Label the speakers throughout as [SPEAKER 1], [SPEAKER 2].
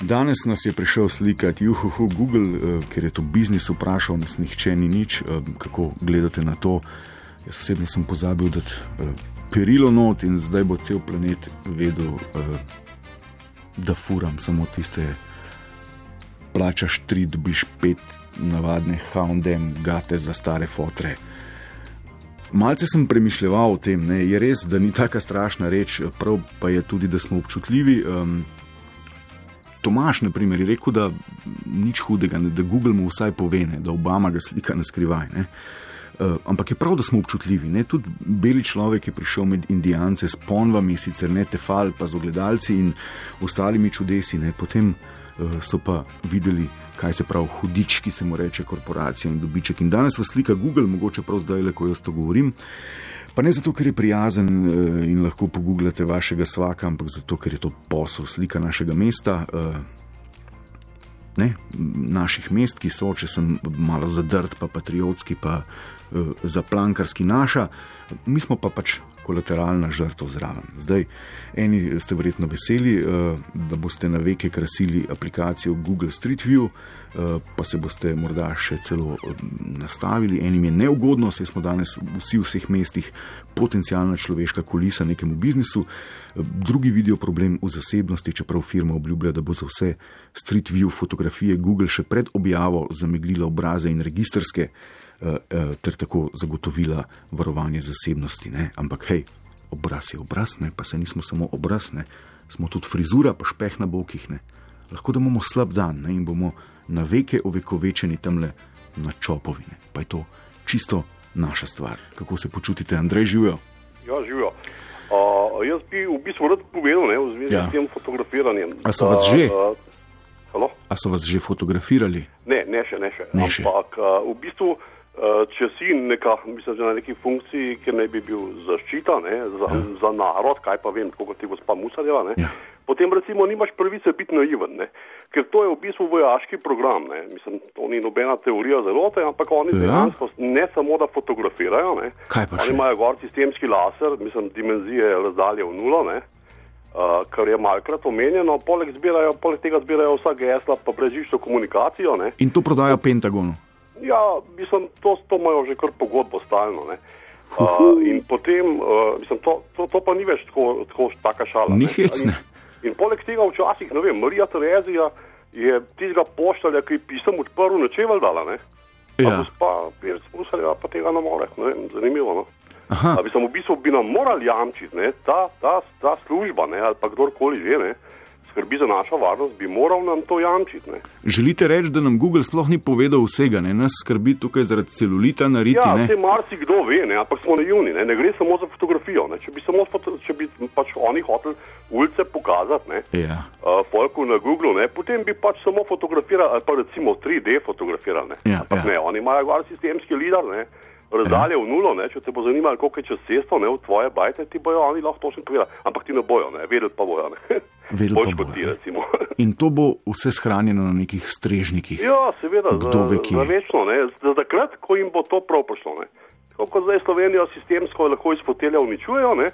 [SPEAKER 1] Danes nas je prišel slikati Juhu Google, eh, ker je to biznis vprašal, nas nihče ni nič, eh, kako gledate na to. Jaz osebno sem pozabil dati eh, perilo not in zdaj bo cel planet vedel, eh, da furam samo tiste, plačaš tri, dobiš pet navadne houndem, gate za stare fotre. Malce sem premišljal o tem, ne. je res, da ni tako strašna reč, prav pa je tudi, da smo občutljivi. Um, Tomaš, na primer, je rekel, da nič hudega, ne, da Google mu vsaj pove, ne, da Obama ga slika na skrivaj. Ne. Uh, ampak je prav, da smo občutljivi. Ne. Tudi beli človek je prišel med Indijance s ponvami, sicer ne tefal, pa z ogledalci in ostalimi čudesi. Ne. Potem uh, so pa videli, kaj se pravi hudič, ki se mu reče korporacija in dobiček. In danes vas slika Google, mogoče prav zdaj le, ko jaz to govorim. Pa ne zato, ker je prijazen eh, in lahko pogooglate vašega svaka, ampak zato, ker je to posel, slika našega mesta. Eh, Ne, naših mest, ki so, če sem malo zadrt, pa patriotski, pa uh, zaplankarski naša, mi smo pa pač kolateralna žrtev zraven. Zdaj, eni ste verjetno veseli, eh, da boste na veke krasili aplikacijo Google Street View, eh, pa se boste morda še celo eh, nastavili, enim je neugodno, saj smo danes vsi v vseh mestih potencijalna človeška kulisa nekemu biznisu, Eh, drugi vidijo problem v zasebnosti, čeprav firma obljublja, da bo za vse Street View fotografije Google še pred objavo zameglila obraze in registerske ter tako zagotovila varovanje zasebnosti. Ne? Ampak hej, obraz je obraz, ne? pa se nismo samo obraz, ne? smo tudi frizura, pa špeh na bokih. Ne? Lahko da imamo slab dan ne? in bomo na veke ovekovečeni tamle na čopovine. Pa je to čisto naša stvar. Kako se počutite, Andrej, živijo?
[SPEAKER 2] Ja, živijo. Uh, jaz bi v bistvu rad povedal ne, v zvezi ja. s tem fotografiranjem.
[SPEAKER 1] A so vas že? Uh,
[SPEAKER 2] uh,
[SPEAKER 1] A so vas že fotografirali?
[SPEAKER 2] Ne, ne še, ne še.
[SPEAKER 1] Ne še.
[SPEAKER 2] Ampak uh, v bistvu uh, če si neka, mislim, na neki funkciji, ki naj bi bil zaščita ne, za, ja. za narod, kaj pa vem, kot je gospa Musarjeva, ne, ja. potem recimo nimaš pravice biti naiven, ne, ker to je v bistvu vojaški program. Ne, mislim, to ni nobena teorija zarote, ampak oni ja. dejansko ne samo, da fotografirajo, ne, oni imajo gor sistemski laser, mislim, dimenzije razdalje v nulo. Ne, Uh, kar je malkrat omenjeno, poleg, zbirajo, poleg tega zbirajo vsa gesla, pa brežiščno komunikacijo. Ne.
[SPEAKER 1] In to prodajo Pentagonu.
[SPEAKER 2] Ja, mislim, to, to imajo že kar pogodbo stalno. Ne. Uh, in potem, uh, mislim, to, to, to pa ni več tako, tako taka šala.
[SPEAKER 1] Ni hecne.
[SPEAKER 2] In, in poleg tega včasih, ne vem, Marija Terezija je tistega poštalja, ki je pisem odprl, nečeval dala, ne.
[SPEAKER 1] Ja.
[SPEAKER 2] Gospa, Pirc Musalja pa tega ne more, ne vem, zanimivo. No. A, mislim, v bistvu bi nam morali jamčiti, ne, ta, ta, ta služba, ne, ali pa kdorkoli že, ne skrbi za našo varnost, bi moral nam to jamčiti. Ne.
[SPEAKER 1] Želite reči, da nam Google sploh ni povedal vsega, ne? nas skrbi tukaj zaradi celulita, nariti?
[SPEAKER 2] Ja,
[SPEAKER 1] ne?
[SPEAKER 2] se marsikdo ve, ne? ampak smo naivni, ne? ne gre samo za fotografijo. Ne? Če bi, samo, če bi pač oni hoteli ulice pokazati ne?
[SPEAKER 1] ja.
[SPEAKER 2] uh, polku na Google, ne? potem bi pač samo fotografirali, ali pa recimo 3D fotografirali. Ne?
[SPEAKER 1] Ja,
[SPEAKER 2] ampak
[SPEAKER 1] ja.
[SPEAKER 2] ne, oni imajo gor sistemski lidar. Ne? Razdalje ja. v nulo, ne? če te bo zanimalo, koliko je čez cesto, ne v tvoje bajte, ti bojo oni lahko točno povedali. Ampak ti ne bojo, ne? vedeli pa bojo. Ne?
[SPEAKER 1] Vedel
[SPEAKER 2] Boljš
[SPEAKER 1] pa ja.
[SPEAKER 2] kot
[SPEAKER 1] bo,
[SPEAKER 2] ti,
[SPEAKER 1] ne.
[SPEAKER 2] recimo.
[SPEAKER 1] In to bo vse shranjeno na nekih strežnikih.
[SPEAKER 2] Ja, seveda,
[SPEAKER 1] Kdo
[SPEAKER 2] za,
[SPEAKER 1] ve, kje?
[SPEAKER 2] za večno, ne, za takrat, ko jim bo to prav prišlo. Ne. Tako kot zdaj Slovenijo sistemsko lahko iz fotelja uničujejo, ne,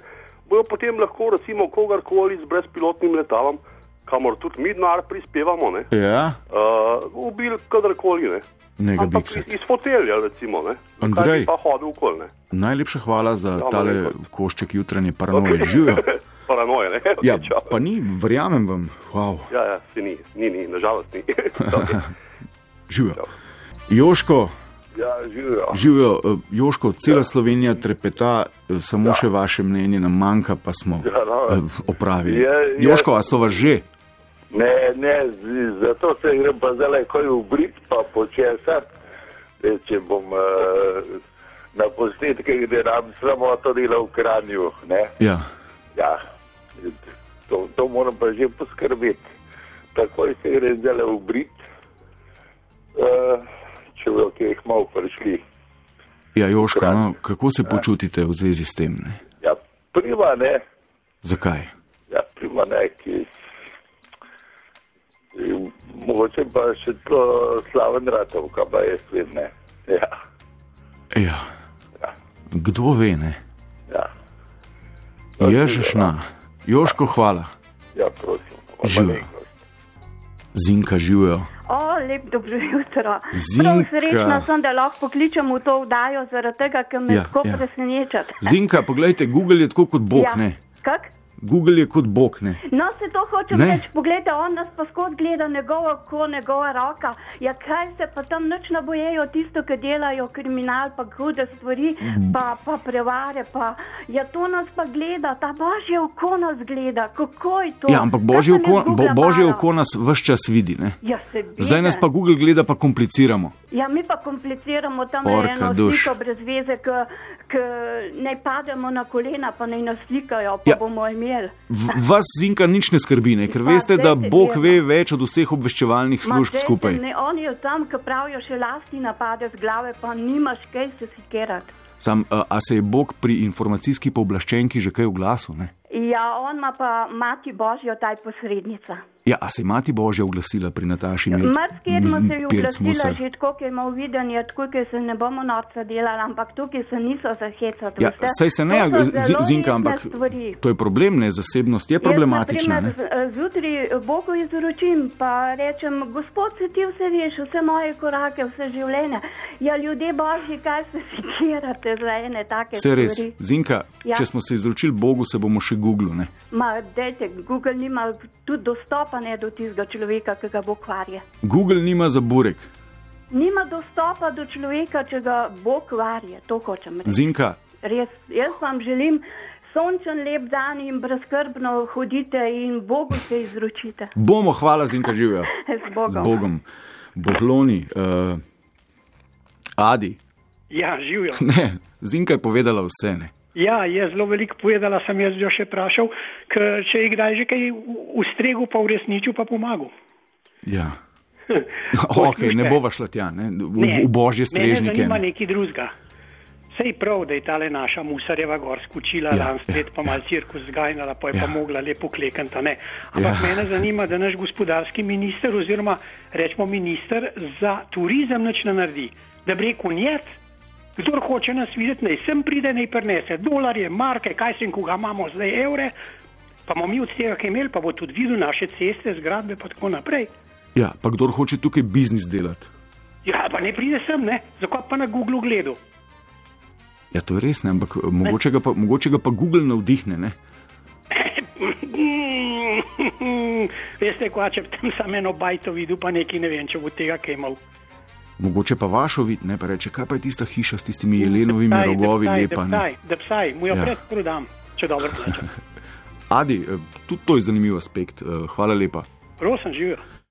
[SPEAKER 2] bojo potem lahko recimo kogarkoli z brezpilotnim letalom, kamor tudi mi denar prispevamo, ne,
[SPEAKER 1] Ja,
[SPEAKER 2] uh, ubili kadarkoli. Ne.
[SPEAKER 1] ne ga
[SPEAKER 2] Ampak
[SPEAKER 1] biksati.
[SPEAKER 2] iz, iz fotelja, recimo, ne. Zakaj bi
[SPEAKER 1] Andrej.
[SPEAKER 2] Pa hodil okol, ne.
[SPEAKER 1] Najlepša hvala za
[SPEAKER 2] Ja,
[SPEAKER 1] tale
[SPEAKER 2] veliko.
[SPEAKER 1] košček jutranje paranoje. Živijo.
[SPEAKER 2] Paranoje, ne.
[SPEAKER 1] Ja,
[SPEAKER 2] Odlično.
[SPEAKER 1] pa ni, verjamem vam, wow,
[SPEAKER 2] ja, ja, se ni, ni, ni, nažalost ni. Dobro.
[SPEAKER 1] živijo. Joško,
[SPEAKER 2] ja, živijo.
[SPEAKER 1] živijo, eh, Joško,
[SPEAKER 2] Ja.
[SPEAKER 1] cela Slovenija trepeta, eh, samo še vaše mnenje nam manjka, pa smo
[SPEAKER 2] Ja, no.
[SPEAKER 1] eh, opravili.
[SPEAKER 3] Je- je-
[SPEAKER 1] Joško, a so vas že?
[SPEAKER 3] Ne, ne, z- zato se grem pa zdaj takoj v brit, pa počesat, E, če bom uh, na posnetkih, da nam samo to dela v kranju. Ne?
[SPEAKER 1] Ja,
[SPEAKER 3] Ja, to, to moram pa že poskrbeti. Takoj se grem zdaj v brit, uh, če bodo kje kmalo prišli.
[SPEAKER 1] ja Joško, no, kako se počutite v zvezi s tem? Ne?
[SPEAKER 3] Ja, prima ne,
[SPEAKER 1] Zakaj?
[SPEAKER 3] ja, prima ne, ki. In Mogoče pa še to slaven ratov, kaj pa jaz vem, ne. Ja.
[SPEAKER 1] Ja. Kdo ve, ne?
[SPEAKER 3] Ja,
[SPEAKER 1] Ježešna. Joško, hvala.
[SPEAKER 3] ja prosim.
[SPEAKER 1] Živijo.
[SPEAKER 3] Malenkost.
[SPEAKER 1] Zinka živijo.
[SPEAKER 4] O, lep dobro jutro.
[SPEAKER 1] Zinka.
[SPEAKER 4] Prav srečna sem, da lahko pokličem v to vdajo, zaradi tega, ker me
[SPEAKER 1] Ja,
[SPEAKER 4] ja, tako
[SPEAKER 1] ja.
[SPEAKER 4] ja. presenečate.
[SPEAKER 1] Zinka, poglejte, Google je tako kot Bog,
[SPEAKER 4] ja.
[SPEAKER 1] ne.
[SPEAKER 4] Kak?
[SPEAKER 1] Google je kot Bog, ne.
[SPEAKER 4] No, se to hočem
[SPEAKER 1] Ne.
[SPEAKER 4] reči. Poglejte, on nas pa skozi gleda njegovo oko, njegova roka. Ja, kaj se pa tam nič ne bojejo, tisto, ki delajo kriminal, pa hude stvari, pa, pa prevare. Pa. Ja, to nas pa gleda, ta božje oko nas gleda. Kako je to?
[SPEAKER 1] Ja, ampak
[SPEAKER 4] Kaj
[SPEAKER 1] božje
[SPEAKER 4] pa ne
[SPEAKER 1] oko, bo,
[SPEAKER 4] izgublja
[SPEAKER 1] božje
[SPEAKER 4] para?
[SPEAKER 1] oko nas vse čas vidi, ne.
[SPEAKER 4] Ja,
[SPEAKER 1] Zdaj nas pa Google gleda, pa kompliciramo.
[SPEAKER 4] Ja, mi pa kompliciramo tam
[SPEAKER 1] Porka
[SPEAKER 4] eno
[SPEAKER 1] duš.
[SPEAKER 4] sliko brez veze, ki naj pademo na kolena, pa naj nas slikajo, pa
[SPEAKER 1] Ja.
[SPEAKER 4] ja. bomo imeli.
[SPEAKER 1] V- Vas Zinka nič ne skrbi, ne? ker
[SPEAKER 4] Pa,
[SPEAKER 1] veste, da
[SPEAKER 4] zdaj se
[SPEAKER 1] Bog
[SPEAKER 4] gleda.
[SPEAKER 1] ve več od vseh obveščevalnih
[SPEAKER 4] Ma,
[SPEAKER 1] služb
[SPEAKER 4] zdaj se
[SPEAKER 1] skupaj.
[SPEAKER 4] Ne, on je tam, ki pravijo, še lasti napade z glave, pa nimaš kaj se sikerati.
[SPEAKER 1] Sam, a, a se je Bog pri informacijski pooblaščenki že kaj oglasil? Ne?
[SPEAKER 4] Ja, on ima pa mati božjo, taj posrednica.
[SPEAKER 1] Ja, a se je Mati Božja oglasila pri Nataši Mm, Mirc?
[SPEAKER 4] Mrzkirno se je
[SPEAKER 1] Pirc
[SPEAKER 4] oglasila
[SPEAKER 1] Musar?
[SPEAKER 4] že tako, ker ima uvidenje, tako, ker se ne bomo norca delali, ampak tukaj se niso zahecati.
[SPEAKER 1] Ja, sej se ne,
[SPEAKER 4] To so
[SPEAKER 1] Z-
[SPEAKER 4] zelo
[SPEAKER 1] Zinka,
[SPEAKER 4] resne
[SPEAKER 1] ampak
[SPEAKER 4] stvari.
[SPEAKER 1] to je problem, ne, zasebnost je problematična.
[SPEAKER 4] Jaz,
[SPEAKER 1] Ne?
[SPEAKER 4] na primer, z- Zjutraj Bogu izročim, pa rečem, gospod, se ti vse veš, vse moje korake, vse življenje. Ja, ljudje božji, kaj se sikirate za ene take
[SPEAKER 1] Se res,
[SPEAKER 4] stvari?
[SPEAKER 1] Zinka, ja.
[SPEAKER 4] Ja.
[SPEAKER 1] če smo se izročili Bogu, se bomo še googlili.
[SPEAKER 4] Ma, dejte, Google nima tudi dostopa ne, do tistega človeka, ki ga bo kvarje.
[SPEAKER 1] Google nima za burek.
[SPEAKER 4] Nima dostopa do človeka, če ga bo kvarje, to hočem reči.
[SPEAKER 1] Zinka,
[SPEAKER 4] Res, jaz vam želim sončen lep dan in brezkrbno hodite in Bogu se izročite.
[SPEAKER 1] bomo, hvala, Zinka, živijo.
[SPEAKER 4] Z
[SPEAKER 1] Z
[SPEAKER 4] Bogom.
[SPEAKER 1] Bogom. Bohloni, uh, Adi.
[SPEAKER 5] Ja, živijo.
[SPEAKER 1] Ne, Zinka je povedala vse. Ne.
[SPEAKER 5] Ja, je zelo veliko povedala, sem jaz jo še vprašal, ker če je kdaj že kaj u- ustregel, pa uresničil, pa pomagal.
[SPEAKER 1] Ja. ok,
[SPEAKER 5] Poslušajte.
[SPEAKER 1] ne bova šla tja, ne, v, v božje
[SPEAKER 5] Ne,
[SPEAKER 1] strežnike.
[SPEAKER 5] ima
[SPEAKER 1] Ne.
[SPEAKER 5] nekaj drugega. Sej prav, da je tale naša musarjeva gor skočila,
[SPEAKER 1] Ja,
[SPEAKER 5] ja, dan spet
[SPEAKER 1] ja,
[SPEAKER 5] ja, pa mal cirkus zganjala, pa je ja. pa
[SPEAKER 1] Ja.
[SPEAKER 5] mogla lepo klekanta. Ne. Ampak
[SPEAKER 1] Ja.
[SPEAKER 5] ja. mene zanima, da naš gospodarski minister oziroma rečemo minister za turizem nič ne naredi. Da bi rekel njet, kdor hoče nas videti, naj sem pride, naj prinese dolarje, marke, kaj se in koga imamo zdaj evre, pa bomo mi od tega kaj imeli, pa bo tudi videl naše ceste, zgradbe pa tako naprej.
[SPEAKER 1] Ja, pa kdo hoče tukaj biznis delati?
[SPEAKER 5] Ja, pa ne pride sem, ne, zakaj pa na Google gledal.
[SPEAKER 1] Ja, to je res, ne, ampak eh, mogoče ga pa, mogoče ga pa Google navdihne. Ne.
[SPEAKER 5] Mm, Veste, ko če bi tam samo eno bajto videl, pa nekaj ne vem, če bo tega kaj imel.
[SPEAKER 1] Mogoče pa vašo vid, ne pa reče, kaj pa je tista hiša s tistimi jelenovimi rogovi, lepa. Ne.
[SPEAKER 5] Da psaj, da psaj, mu jo
[SPEAKER 1] Ja.
[SPEAKER 5] ja. pred prodam, če dobro plačam.
[SPEAKER 1] Adi, eh, tudi to je zanimiv aspekt. eh, Hvala lepa.
[SPEAKER 5] Prosim, živijo.